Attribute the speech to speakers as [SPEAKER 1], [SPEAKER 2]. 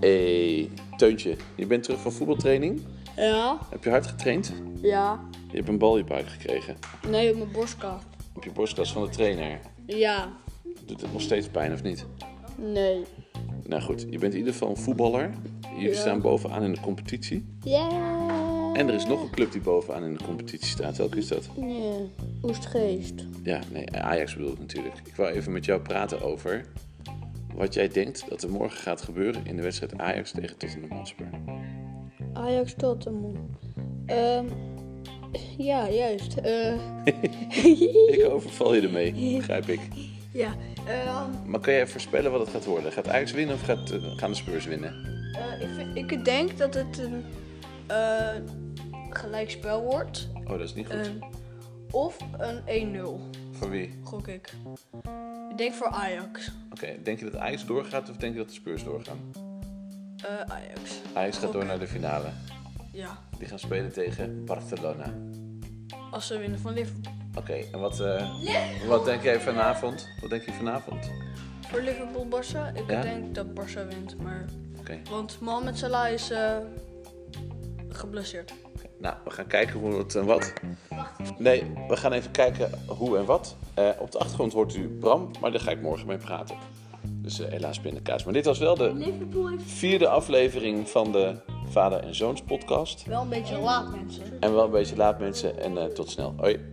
[SPEAKER 1] Hey, Teuntje, je bent terug van voetbaltraining.
[SPEAKER 2] Ja,
[SPEAKER 1] Heb je hard getraind?
[SPEAKER 2] ja.
[SPEAKER 1] Je hebt een bal in je buik gekregen.
[SPEAKER 2] Nee, op mijn borstkas.
[SPEAKER 1] Op je borstkas van de trainer.
[SPEAKER 2] Ja,
[SPEAKER 1] Doet het nog steeds pijn of niet?
[SPEAKER 2] nee.
[SPEAKER 1] Nou goed, je bent in ieder geval een voetballer. Jullie
[SPEAKER 2] Ja.
[SPEAKER 1] staan bovenaan in de competitie.
[SPEAKER 2] Yeah.
[SPEAKER 1] En er is nog een club die bovenaan in de competitie staat. Welke is dat?
[SPEAKER 2] Nee, Oestgeest.
[SPEAKER 1] Ja, nee, Ajax bedoel ik natuurlijk. Ik wou even met jou praten over wat jij denkt dat er morgen gaat gebeuren in de wedstrijd Ajax tegen Tottenham Hotspur.
[SPEAKER 2] Ajax Tottenham. Ehm, ja, juist. Eh,
[SPEAKER 1] Ik overval je ermee, begrijp ik.
[SPEAKER 2] ja, ehm,
[SPEAKER 1] Maar kan jij voorspellen wat het gaat worden? Gaat Ajax winnen of gaat, eh, gaan de Spurs winnen?
[SPEAKER 2] eh, ik, vind- ik denk dat het een eh, gelijkspel wordt.
[SPEAKER 1] Oh, dat is niet goed.
[SPEAKER 2] Een- of een 1-0,
[SPEAKER 1] Voor wie?
[SPEAKER 2] gok ik. Ik denk voor Ajax.
[SPEAKER 1] Oké, denk je dat Ajax doorgaat of denk je dat de Spurs doorgaan?
[SPEAKER 2] Eh, Ajax.
[SPEAKER 1] Ajax gaat
[SPEAKER 2] Gok.
[SPEAKER 1] door naar de finale.
[SPEAKER 2] Ja,
[SPEAKER 1] Die gaan spelen tegen Barcelona.
[SPEAKER 2] als ze winnen van Liverpool.
[SPEAKER 1] Oké, en wat, eh, wat denk jij vanavond? Wat denk je vanavond?
[SPEAKER 2] Voor Liverpool Barça? Ik
[SPEAKER 1] Ja.
[SPEAKER 2] denk dat Barça wint, maar...
[SPEAKER 1] Oké,
[SPEAKER 2] Want Mohamed Salah is eh, geblesseerd.
[SPEAKER 1] nou, we gaan kijken hoe het en wat. Nee, we gaan even kijken hoe en wat. Eh, op de achtergrond hoort u Bram, maar daar ga ik morgen mee praten. Dus eh, helaas pindakaas. Maar dit was wel de
[SPEAKER 2] Liverpool heeft
[SPEAKER 1] vierde aflevering van de Vader en Zoons podcast.
[SPEAKER 2] wel een beetje laat, mensen.
[SPEAKER 1] En wel een beetje laat mensen en eh, tot snel. Hoi.